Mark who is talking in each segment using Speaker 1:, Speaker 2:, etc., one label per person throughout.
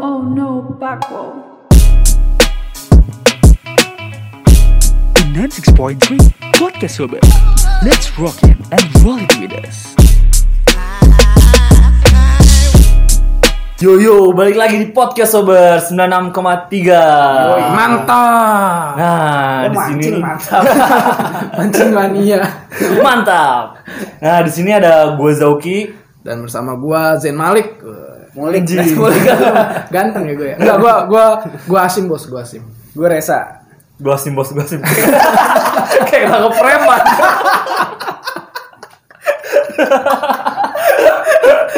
Speaker 1: Oh no, Paco.
Speaker 2: 96.3 Podcast Sobat Let's rock it and roll it with us
Speaker 3: Yo yo, balik lagi di podcast sober 96,3.
Speaker 4: Mantap.
Speaker 3: Nah, di sini
Speaker 4: mancing mantap. mancing ya. mania.
Speaker 3: mantap. Nah, di sini ada gue Zauki.
Speaker 4: Dan bersama gua Zain Malik. Malik.
Speaker 3: Ji.
Speaker 4: Ganteng ya gue ya. Enggak, gua gua gua Asim bos, gua Asim. Gua Resa.
Speaker 3: Gue sim bos, gue sim. Kayak nggak kepreman.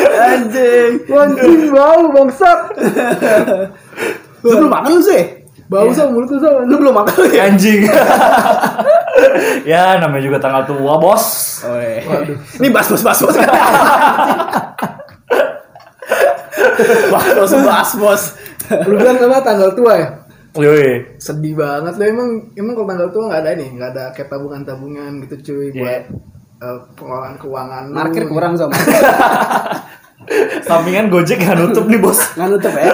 Speaker 4: Anjing. Anjing bau bangsat. Lu belum makan lu sih? Bau sama mulut lu sama. Lu belum makan ya?
Speaker 3: Anjing. ya, namanya juga tanggal tua, Bos.
Speaker 4: Waduh. Ini bas bas bas bas.
Speaker 3: Wah,
Speaker 4: Bos bas bos. Lu bilang sama tanggal tua ya?
Speaker 3: Yoi.
Speaker 4: Sedih banget lu emang emang kalau tanggal tua nggak ada nih, nggak ada kayak tabungan-tabungan gitu cuy buat eh, pengelolaan keuangan lu.
Speaker 5: Parkir kurang sama.
Speaker 3: Sampingan Gojek nggak nutup nih, Bos.
Speaker 5: Nggak nutup ya.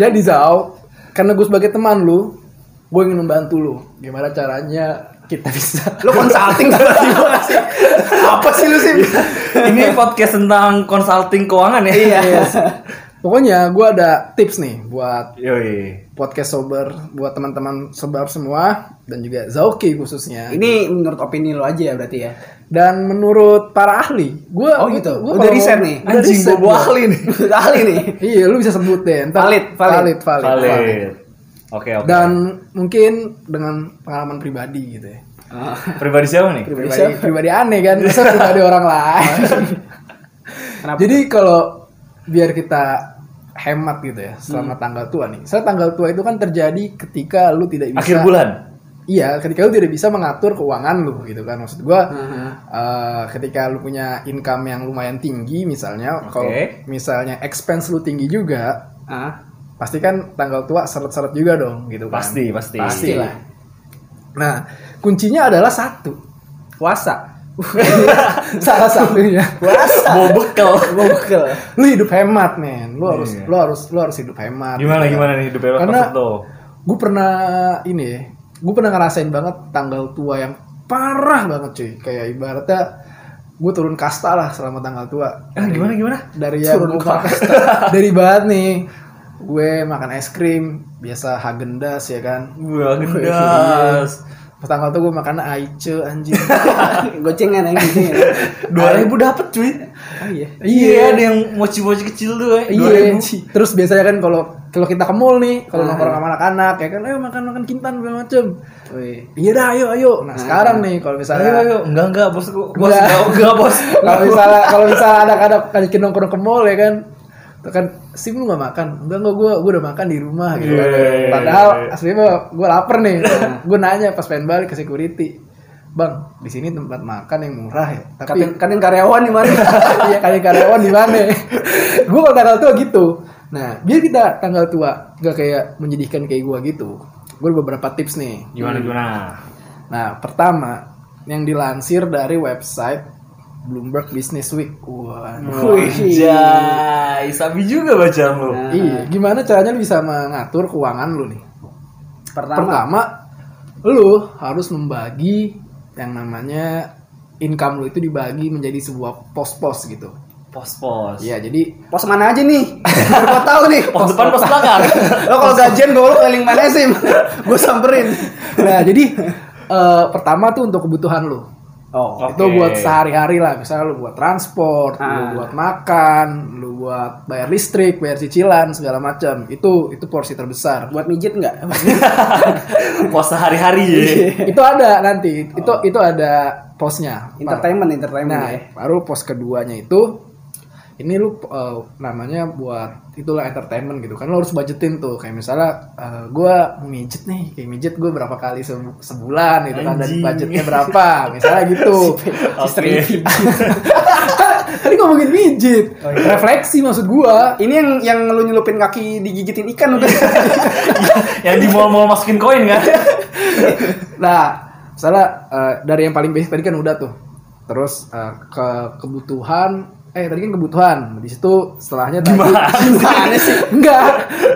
Speaker 4: Jadi Zau, karena gue sebagai teman lu, gue ingin membantu lu. Gimana caranya kita bisa? Lu consulting tiba-tiba sih. Apa sih lu sih?
Speaker 3: Ini podcast tentang consulting keuangan ya.
Speaker 4: Iya. Pokoknya gue ada tips nih buat
Speaker 3: Yoi.
Speaker 4: podcast sober, buat teman-teman sober semua dan juga Zauki khususnya.
Speaker 5: Ini menurut opini lo aja ya berarti ya.
Speaker 4: Dan menurut para ahli, gue
Speaker 5: Oh, gitu. Udah riset nih?
Speaker 3: Anjing,
Speaker 4: gue
Speaker 3: gua bawa ahli nih.
Speaker 5: Kali nih.
Speaker 4: Iya, lu bisa sebut deh. Ntar-
Speaker 5: Valid, valid.
Speaker 4: valid, valid.
Speaker 3: Valid. Oke, oke.
Speaker 4: Dan mungkin dengan pengalaman pribadi gitu ya.
Speaker 3: Pribadi siapa nih?
Speaker 4: pribadi pribadi aneh kan masa pribadi orang lain jadi kalau biar kita hemat gitu ya selama
Speaker 3: Hmm.
Speaker 4: tanggal tua nih saya tanggal tua itu kan terjadi ketika lu tidak bisa
Speaker 3: Akhir bulan.
Speaker 4: iya ketika lu tidak bisa mengatur keuangan lu gitu kan maksud gua
Speaker 3: Hmm.
Speaker 4: eh, ketika lu punya income yang lumayan tinggi misalnya
Speaker 3: Oke.
Speaker 4: kalau misalnya expense lu tinggi juga
Speaker 5: Ah,
Speaker 4: pasti kan tanggal tua seret-seret juga dong gitu kan
Speaker 3: Pasti, pasti. Iya.
Speaker 4: pasti lah nah kuncinya adalah satu
Speaker 5: puasa.
Speaker 4: salah satunya
Speaker 3: Bawa bekal.
Speaker 5: Gua bekel.
Speaker 4: lu hidup hemat men lu harus
Speaker 3: Iya.
Speaker 4: lu harus lu harus hidup hemat
Speaker 3: Gimana gimana nih hidupnya Pak
Speaker 4: Karena-
Speaker 3: Seto?
Speaker 4: gue pernah ini gue pernah ngerasain banget tanggal tua yang parah banget cuy kayak ibaratnya gue turun kasta lah selama tanggal tua
Speaker 3: Eh, gimana gimana?
Speaker 4: dari yang
Speaker 5: Turun
Speaker 4: gue kasta dari banget nih gue makan es krim biasa Häagen-Dazs ya kan
Speaker 3: Gue gendas.
Speaker 4: Pas tanggal tuh gue makan Aice anjing
Speaker 5: Gocengan yang gocengan.
Speaker 3: Dua ribu dapat cuy.
Speaker 5: Oh iya.
Speaker 3: Iya, ada yang mochi-mochi kecil tuh. eh.
Speaker 4: Iya. Terus biasanya kan kalau kalau kita ke mall nih, kalau nongkrong sama anak-anak ya kan, ayo makan makan kintan segala macem.
Speaker 5: Woi.
Speaker 4: Iya dah, ayo ayo. Nah sekarang nih kalau misalnya
Speaker 3: Ayo, ayo. Enggak, enggak, bos. Bos,
Speaker 4: Enggak.
Speaker 3: enggak, enggak, bos.
Speaker 4: kalau misalnya kalau misalnya anak-anak kan bikin nongkrong ke mall ya kan, tuh kan sih lu gak makan, enggak enggak gue gue udah makan di rumah gitu. kan.
Speaker 3: Yeay.
Speaker 4: Padahal aslinya mah gue lapar nih, gue nanya pas pengen balik ke security, bang di sini tempat makan yang murah ya,
Speaker 5: Katin,
Speaker 4: tapi
Speaker 5: katin karyawan di mana?
Speaker 4: Iya kali karyawan di mana? gue kalau tanggal tua gitu. Nah, biar kita tanggal tua nggak kayak menyedihkan kayak gue gitu. Gue ada beberapa tips nih.
Speaker 3: Gimana gimana?
Speaker 4: Nah, pertama yang dilansir dari website Bloomberg Business Week. Wah.
Speaker 5: Wih.
Speaker 3: Oh, Anjay, sabi juga bacaan lu.
Speaker 5: Nah,
Speaker 4: Iya, gimana caranya lu bisa mengatur keuangan lu nih?
Speaker 5: Pertama.
Speaker 4: Pertama, lu harus membagi yang namanya income lu itu dibagi menjadi sebuah pos-pos gitu.
Speaker 3: Pos-pos.
Speaker 4: Iya, jadi
Speaker 5: Pos mana aja nih? Biar gua tahu nih.
Speaker 3: Pos depan, pos belakang.
Speaker 5: Lo Oh, kalau gajian bawa lo keliling mana Iya sih? Gue samperin.
Speaker 4: Nah, jadi eh, pertama tuh untuk kebutuhan lu.
Speaker 5: Oh.
Speaker 3: Oke.
Speaker 4: Itu buat sehari-hari lah, misalnya lu buat transport, lu
Speaker 5: Ah.
Speaker 4: buat makan, lu buat bayar listrik, bayar cicilan segala macam. Itu itu porsi terbesar.
Speaker 5: Buat mijit nggak?
Speaker 3: Pos sehari-hari ya.
Speaker 4: Iya. itu ada nanti. Itu itu ada posnya.
Speaker 5: Oh. entertainment, entertainment
Speaker 4: Nah,
Speaker 5: ya.
Speaker 4: baru pos keduanya itu ini lu eh, namanya buat itulah entertainment gitu kan lu harus budgetin tuh kayak misalnya eh, gua gue mijet nih kayak mijet gue berapa kali se- sebulan gitu kan dan
Speaker 3: Anjing.
Speaker 4: budgetnya berapa misalnya gitu
Speaker 3: Oke.
Speaker 4: tadi ngomongin mijet refleksi maksud gua
Speaker 5: Ini yang yang lu nyelupin kaki digigitin ikan udah.
Speaker 3: Yang di mall-mall masukin koin kan?
Speaker 4: nah misalnya eh, dari yang paling basic tadi kan udah tuh terus eh, ke kebutuhan eh tadi kan kebutuhan di situ setelahnya tadi
Speaker 3: Gimana?
Speaker 5: Gimana sih?
Speaker 4: enggak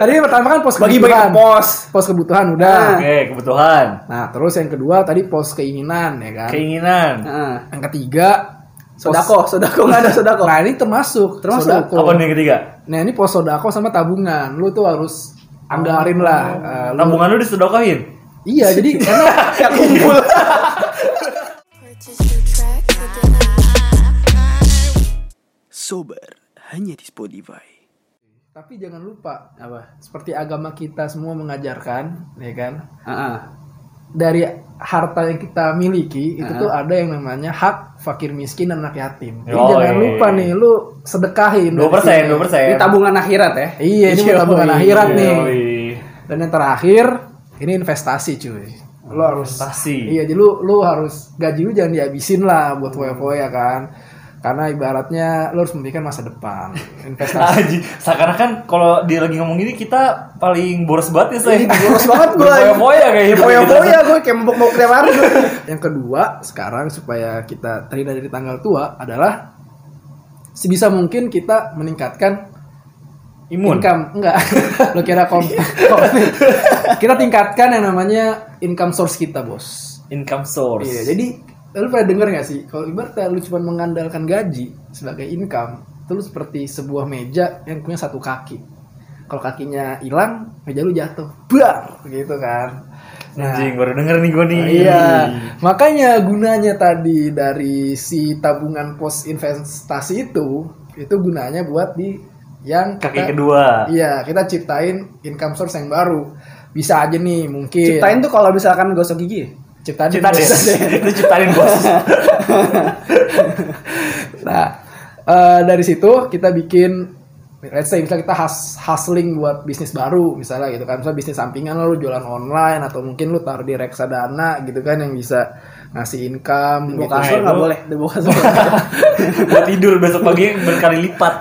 Speaker 4: tadi yang pertama kan pos
Speaker 5: Bagi-bagi
Speaker 4: kebutuhan
Speaker 5: ke pos.
Speaker 4: pos kebutuhan udah
Speaker 5: Ah.
Speaker 3: Oke, kebutuhan,
Speaker 4: nah terus yang kedua tadi pos keinginan ya kan
Speaker 3: keinginan.
Speaker 5: Heeh.
Speaker 4: yang ketiga pos-
Speaker 5: Sodako, sodako nggak ada sodako.
Speaker 4: nah ini termasuk termasuk
Speaker 5: Sodako.
Speaker 3: Apa nih yang ketiga?
Speaker 4: nah ini pos sodako sama tabungan lu tuh harus anggarin lah Eh, lu-
Speaker 3: Tabungan lu disedokahin.
Speaker 4: iya jadi karena
Speaker 5: Ya kumpul.
Speaker 1: Purchase your track again.
Speaker 2: Sober hanya di Spotify.
Speaker 4: tapi jangan lupa apa seperti agama kita semua mengajarkan ya kan
Speaker 5: Heeh.
Speaker 4: dari harta yang kita miliki itu tuh ada yang namanya hak fakir miskin dan anak yatim. Jadi
Speaker 3: Yoi.
Speaker 4: jangan lupa nih lu sedekahin. dari
Speaker 3: 2%,
Speaker 4: sini.
Speaker 3: 2%.
Speaker 5: Ini tabungan akhirat ya.
Speaker 4: Iya, ini buat tabungan
Speaker 3: Yoi,
Speaker 4: akhirat nih.
Speaker 3: yoi.
Speaker 4: Dan yang terakhir ini investasi cuy. Lu harus
Speaker 3: Investasi.
Speaker 4: Iya, jadi lu lu harus gaji lu jangan dihabisin lah buat foya-foya kan. Karena ibaratnya lu harus memikirkan masa depan. Investasi.
Speaker 3: Aji, seakan-akan kan kalau dia lagi ngomong gini kita paling boros banget ya, saya.
Speaker 4: Iya,
Speaker 5: Ih, boros banget gua.
Speaker 3: Poya
Speaker 5: Iya, gitu.
Speaker 3: kayaknya.
Speaker 5: Poya-poya gue kayak mabok-mabok tiap hari. gua.
Speaker 4: yang kedua sekarang supaya kita terhindar dari tanggal tua adalah sebisa mungkin kita meningkatkan
Speaker 3: Imun.
Speaker 4: income enggak lo kira kom kom- kita tingkatkan yang namanya income source kita bos
Speaker 3: Income source.
Speaker 4: iya jadi lu pernah dengar nggak sih kalau ibaratnya lu cuma mengandalkan gaji sebagai income itu lu seperti sebuah meja yang punya satu kaki kalau kakinya hilang meja lu jatuh bar gitu kan
Speaker 3: Anjing, baru denger nih gue nih.
Speaker 4: Iya,
Speaker 3: Hmm.
Speaker 4: makanya gunanya tadi dari si tabungan pos investasi itu, itu gunanya buat di yang
Speaker 3: Kaki
Speaker 4: kita-
Speaker 3: kedua.
Speaker 4: Iya, kita ciptain income source yang baru. Bisa aja nih mungkin.
Speaker 5: Ciptain tuh kalau misalkan gosok gigi. ya.
Speaker 4: ciptain,
Speaker 3: Cipta deh.
Speaker 4: Ciptain.
Speaker 3: Itu ciptain bos.
Speaker 4: Nah, eh, dari situ kita bikin let's say misalnya kita hus- hustling buat bisnis baru misalnya gitu kan misalnya bisnis sampingan lah, lu jualan online atau mungkin lu taruh di reksadana gitu kan yang bisa ngasih income
Speaker 5: Bawa
Speaker 4: gitu.
Speaker 5: kasur
Speaker 3: Nah,
Speaker 5: nggak
Speaker 3: itu-
Speaker 5: boleh. Di bawah kasur. nggak boleh.
Speaker 3: Buat tidur besok pagi berkali lipat.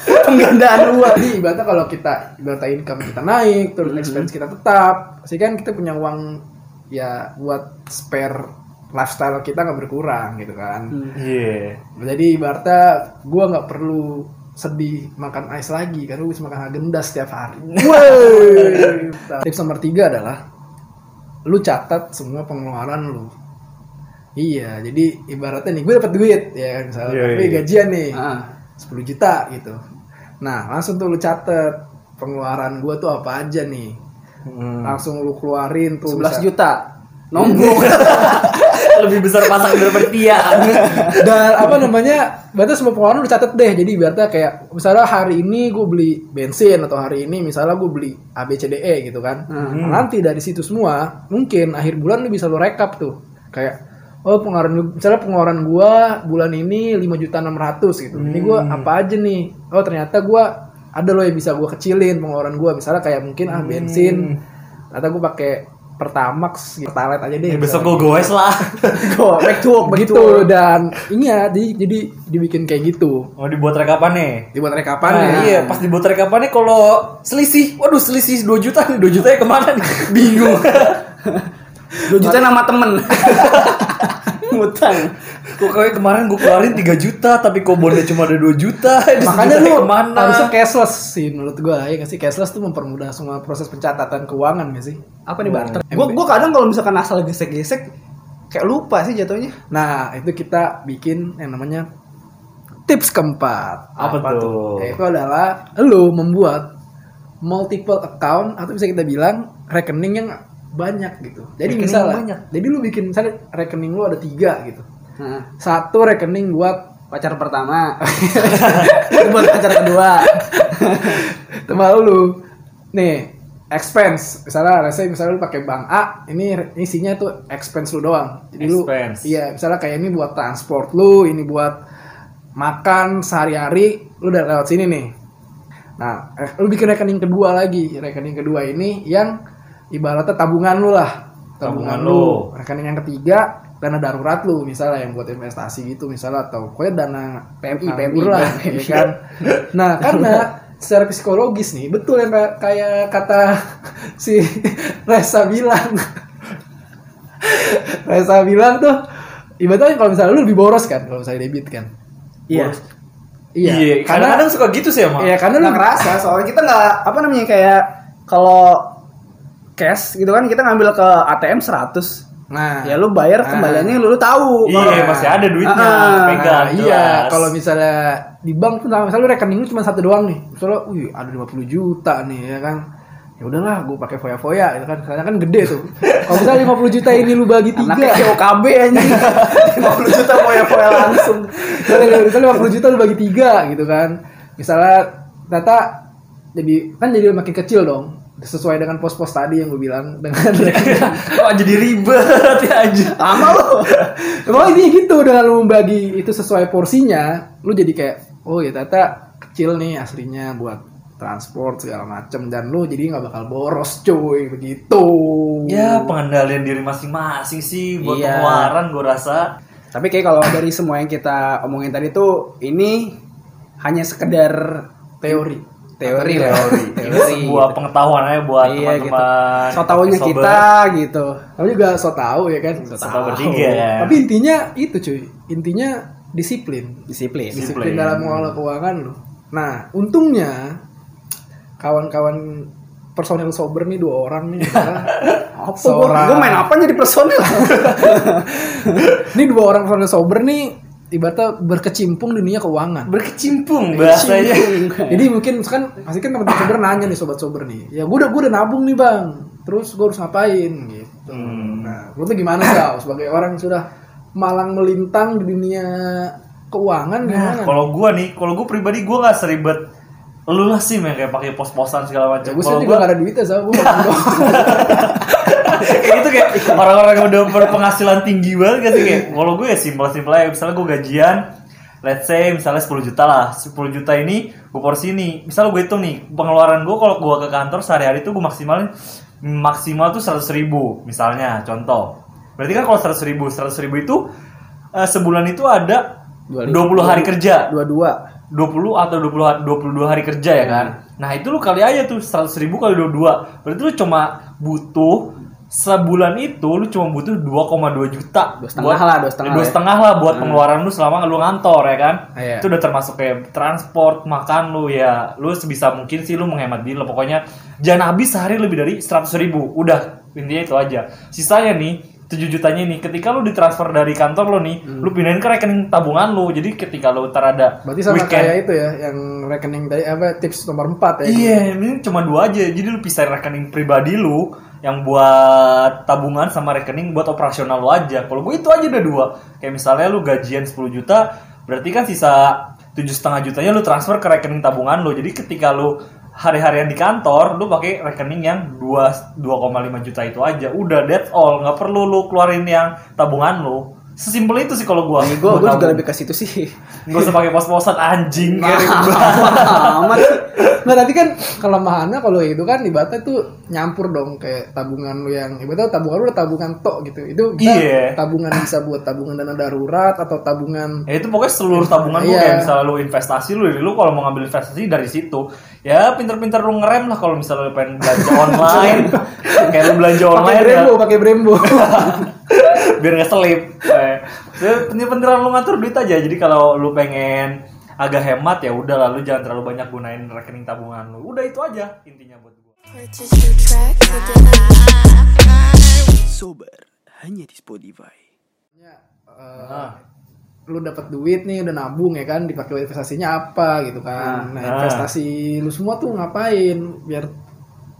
Speaker 5: Penggandaan
Speaker 4: Dua, jadi ibaratnya kalau kita ibaratnya income kita naik terus expense kita tetap pasti kan kita punya uang ya buat spare lifestyle kita nggak berkurang gitu kan
Speaker 3: Iya.
Speaker 4: jadi ibaratnya gua nggak perlu sedih makan ais lagi karena gue bisa makan agenda setiap hari tips nomor tiga adalah lu catat semua pengeluaran lu iya jadi ibaratnya nih gue dapat duit ya kan misalnya
Speaker 3: Iya,
Speaker 4: tapi
Speaker 3: iya.
Speaker 4: gajian nih
Speaker 5: Heeh.
Speaker 4: 10 juta gitu. Nah, langsung tuh lu catet pengeluaran gua tuh apa aja nih.
Speaker 3: Hmm.
Speaker 4: Langsung lu keluarin tuh
Speaker 5: 11
Speaker 4: bisa-
Speaker 5: juta. Nombok.
Speaker 3: Lebih besar pasang daripada tiang.
Speaker 4: Dan apa namanya? Berarti semua pengeluaran lu catet deh. Jadi ibaratnya kayak misalnya hari ini gue beli bensin atau hari ini misalnya gue beli ABCDE gitu kan. Nah, nanti dari situ semua mungkin akhir bulan lu bisa lu rekap tuh. Kayak Oh pengeluaran misalnya pengeluaran gua bulan ini 5.600 gitu. Ini gua apa aja nih? Oh ternyata gua ada loh yang bisa gua kecilin pengeluaran gua misalnya kayak mungkin ah bensin atau gua pakai Pertamax, gitu. Pertalite aja deh.
Speaker 3: Iya, Besok gue goes lah.
Speaker 4: Go, back to work, back
Speaker 3: Gitu.
Speaker 5: Gitu.
Speaker 4: to work. dan
Speaker 3: ya,
Speaker 4: ingat jadi, jadi dibikin kayak gitu
Speaker 3: Mau dibuat rekapan nih.
Speaker 4: dibuat rekapan
Speaker 3: Nah,
Speaker 4: ya.
Speaker 3: iya, pas dibuat rekapannya kalau selisih, waduh selisih 2 juta nih, 2 jutanya kemana nih? Bingung.
Speaker 5: 2 juta nama temen. Nah. Ngutang.
Speaker 3: Kok kayak kemarin gue keluarin 3 juta, tapi kok bonnya cuma ada 2 juta. Ini
Speaker 4: makanya
Speaker 3: sejutanya
Speaker 4: lu
Speaker 3: kemana?
Speaker 4: harusnya cashless sih menurut gua ya nggak sih cashless tuh mempermudah semua proses pencatatan keuangan nggak sih
Speaker 5: Apa nih barter? Gue gua kadang kalau misalkan asal gesek-gesek kayak lupa sih jatuhnya.
Speaker 4: nah itu kita bikin yang namanya tips keempat
Speaker 3: Apa tuh?
Speaker 4: yaitu adalah lu membuat multiple account atau bisa kita bilang rekening yang banyak gitu jadi
Speaker 3: Rekening
Speaker 4: misalnya
Speaker 3: yang banyak.
Speaker 4: jadi lu bikin misalnya rekening lu ada tiga gitu
Speaker 5: Heeh.
Speaker 4: satu rekening buat
Speaker 5: pacar pertama buat pacar kedua
Speaker 4: Teman lu. Nih, expense. Misalnya let's say misalnya lu pakai bank A, ini isinya tuh expense lu doang. Jadi lu
Speaker 3: Expense.
Speaker 4: iya, misalnya kayak ini buat transport lu, ini buat makan sehari-hari, lu udah lewat sini nih. Nah, eh, lu bikin rekening kedua lagi. Rekening kedua ini yang ibaratnya tabungan lu lah.
Speaker 3: Tabungan lu.
Speaker 4: Rekening yang ketiga dana darurat lu misalnya yang buat investasi gitu misalnya atau pokoknya dana PMI
Speaker 5: PMI,
Speaker 4: nganggur lah,
Speaker 5: PMI.
Speaker 4: ya kan? Nah, karena secara psikologis nih, betul yang kayak- kayak kata si Reza bilang. Reza bilang tuh, ibaratnya kalau misalnya lu lebih boros kan, kalau misalnya debit kan. Iya.
Speaker 3: Boros.
Speaker 4: Iya.
Speaker 3: kadang-kadang suka gitu sih emang.
Speaker 4: Iya, karena lu
Speaker 5: nggak ngerasa soalnya kita nggak apa namanya kayak kalau cash gitu kan kita ngambil ke ATM 100
Speaker 4: Nah,
Speaker 5: ya lu bayar
Speaker 4: Ah.
Speaker 5: kembaliannya lu, lu tahu
Speaker 3: Iya,
Speaker 5: Kalau-
Speaker 3: masih ada duitnya,
Speaker 5: Ah,
Speaker 3: pegang.
Speaker 4: Nah, iya,
Speaker 3: jelas.
Speaker 4: kalau misalnya di bank tuh nah, misalnya lu rekening lu cuma satu doang nih. Misalnya wih ada 50 juta nih ya kan. Ya udahlah, gue pakai foya-foya itu kan. Karena kan gede tuh. Kalau misalnya 50 juta ini lu bagi tiga.
Speaker 5: anaknya kayak OKB anjing 50 juta poya-poya langsung
Speaker 4: misalnya, misalnya 50 juta lu bagi tiga gitu kan. Misalnya ternyata jadi kan jadi makin kecil dong. Sesuai dengan pos-pos tadi yang gue bilang dengan
Speaker 3: Kok jadi ribet ya aja.
Speaker 5: lama lu
Speaker 4: Emang ini gitu dengan lu membagi itu sesuai porsinya, lu jadi kayak oh ya ternyata kecil nih aslinya buat transport segala macem dan lu jadi nggak bakal boros cuy begitu.
Speaker 3: Ya pengendalian diri masing-masing sih buat
Speaker 5: Iya.
Speaker 3: pengeluaran gue rasa.
Speaker 5: tapi kayak kalau dari semua yang kita omongin tadi tuh ini hanya sekedar
Speaker 4: teori.
Speaker 5: teori lah
Speaker 3: Ini sebuah pengetahuan aja buat
Speaker 5: iya gitu
Speaker 3: teman-teman.
Speaker 5: so taunya
Speaker 3: sobat.
Speaker 5: kita gitu
Speaker 4: Tapi juga so tau ya kan.
Speaker 3: So tau bertiga ya.
Speaker 4: Tapi intinya itu cuy, intinya disiplin.
Speaker 5: disiplin
Speaker 4: Disiplin
Speaker 3: Disiplin.
Speaker 4: dalam mengelola keuangan lu. Nah, untungnya kawan-kawan personil sober nih dua orang nih. ya.
Speaker 5: apa
Speaker 4: Seorang-
Speaker 5: gue main apa jadi personil
Speaker 4: Ini dua orang personil sober nih ibaratnya berkecimpung dunia keuangan.
Speaker 3: berkecimpung Iya, bahasanya. Iya.
Speaker 4: Jadi mungkin kan pasti kan teman-teman sober nanya nih sobat sober nih. Ya gue udah gue udah nabung nih bang. Terus gue harus ngapain gitu.
Speaker 3: Hmm.
Speaker 4: Nah, lu tuh gimana sih sebagai orang yang sudah malang melintang di dunia
Speaker 3: Nah,
Speaker 4: keuangan gimana?
Speaker 3: kalau gue nih, kalau gue pribadi gue nggak seribet lu lah sih yang kayak pakai pos-posan segala macam.
Speaker 4: Ya, gue sih
Speaker 3: Kalau
Speaker 4: juga
Speaker 3: gua-
Speaker 4: gak ada duitnya sama gue
Speaker 3: kayak gitu kayak orang-orang yang udah berpenghasilan tinggi banget gitu kayak kalau gue ya simpel-simpel aja misalnya gue gajian let's say misalnya 10 juta lah 10 juta ini gue porsi ini misalnya gue hitung nih pengeluaran gue kalau gue ke kantor sehari-hari tuh gue maksimalin maksimal tuh 100 ribu misalnya contoh berarti kan kalau 100 ribu 100 ribu itu eh, sebulan itu ada 20 hari kerja
Speaker 5: dua-dua
Speaker 3: 20 atau 20 hari- 22 hari kerja ya kan.
Speaker 5: Hmm.
Speaker 3: Nah, itu lu kali aja tuh 100 ribu kali 22. Berarti lu cuma butuh sebulan itu lu cuma butuh 2,2 juta.
Speaker 5: Dua setengah lah, dua setengah
Speaker 3: dua
Speaker 5: ya. Ah,
Speaker 3: setengah lah buat pengeluaran lu selama lu ngantor ya kan.
Speaker 4: Iya.
Speaker 3: Itu udah termasuk kayak transport, makan lu ya. Lu sebisa mungkin sih lu menghemat diri. lah. Pokoknya jangan habis sehari lebih dari 100 ribu. Udah, intinya itu aja. Sisanya nih 7 jutanya nih ketika lu ditransfer dari kantor lu nih,
Speaker 5: Hmm.
Speaker 3: lu pindahin ke rekening tabungan lu. Jadi ketika lu ntar ada
Speaker 4: Berarti sama
Speaker 3: weekend.
Speaker 4: kayak itu ya, yang rekening tadi apa tips nomor 4 ya.
Speaker 3: Iya, ini cuma dua aja. Jadi lu pisahin rekening pribadi lu yang buat tabungan sama rekening buat operasional lu aja. Kalau gue itu aja udah dua. Kayak misalnya lu gajian 10 juta, berarti kan sisa tujuh setengah jutanya lu transfer ke rekening tabungan lu. Jadi ketika lu hari-harian di kantor, lu pakai rekening yang 2 2,5 juta itu aja. Udah that's all, nggak perlu lu keluarin yang tabungan lu. Sesimpel itu sih kalau gua.
Speaker 5: gue
Speaker 3: Gua
Speaker 5: juga
Speaker 3: tabung.
Speaker 5: lebih Nah, ke situ sih
Speaker 3: Nggak usah pakai pos-posan anjing kayak ribet.
Speaker 5: amat
Speaker 4: Nah tapi kan kelemahannya kalau itu kan ibaratnya tuh nyampur dong kayak tabungan lu yang ibaratnya tabungan lu udah tabungan tok gitu. Itu kita
Speaker 3: Iya.
Speaker 4: tabungan bisa buat tabungan dana darurat atau tabungan
Speaker 3: Ya itu pokoknya seluruh tabungan lu
Speaker 4: Iya.
Speaker 3: kayak misalnya lu investasi lu, lu kalau mau ngambil investasi dari situ, ya pinter-pinter lu ngerem lah kalau misalnya lu pengen belanja online, kayak lu belanja
Speaker 4: pakai
Speaker 3: online ya,
Speaker 4: Brembo, pakai Brembo.
Speaker 3: biar nggak selip. Eh, Ya, pinter-pinteran lu ngatur duit aja. Jadi kalau lu pengen agak hemat ya udah lalu jangan terlalu banyak gunain rekening tabungan lu. Udah itu aja intinya buat gua.
Speaker 1: Purchase your track. Begin at
Speaker 2: Sober hanya di Spotify.
Speaker 4: Ya, eh, lu dapat duit nih udah nabung ya kan dipakai buat investasinya apa gitu kan. Nah,
Speaker 3: Ah.
Speaker 4: investasi lu semua tuh ngapain biar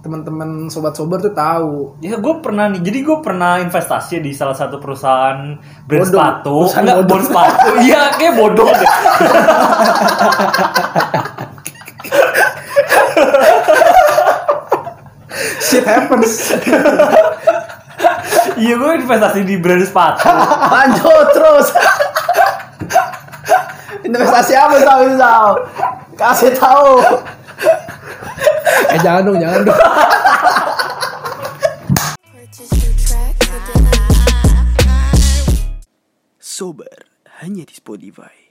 Speaker 4: teman-teman sobat sober tuh tahu.
Speaker 3: Ya gue pernah nih, jadi gue pernah investasi di salah satu perusahaan brand
Speaker 5: Bodong.
Speaker 3: sepatu
Speaker 5: Perusahaan
Speaker 3: Enggak,
Speaker 5: bodong.
Speaker 3: brand sepatu, iya kayak bodoh deh
Speaker 5: shit happens
Speaker 3: Iya gue investasi di brand sepatu
Speaker 5: lanjut terus investasi apa tahu tahu kasih tahu
Speaker 4: Eh jangan dong, jangan dong.
Speaker 1: Purchase your track. Begin at
Speaker 2: Sober hanya di Spotify.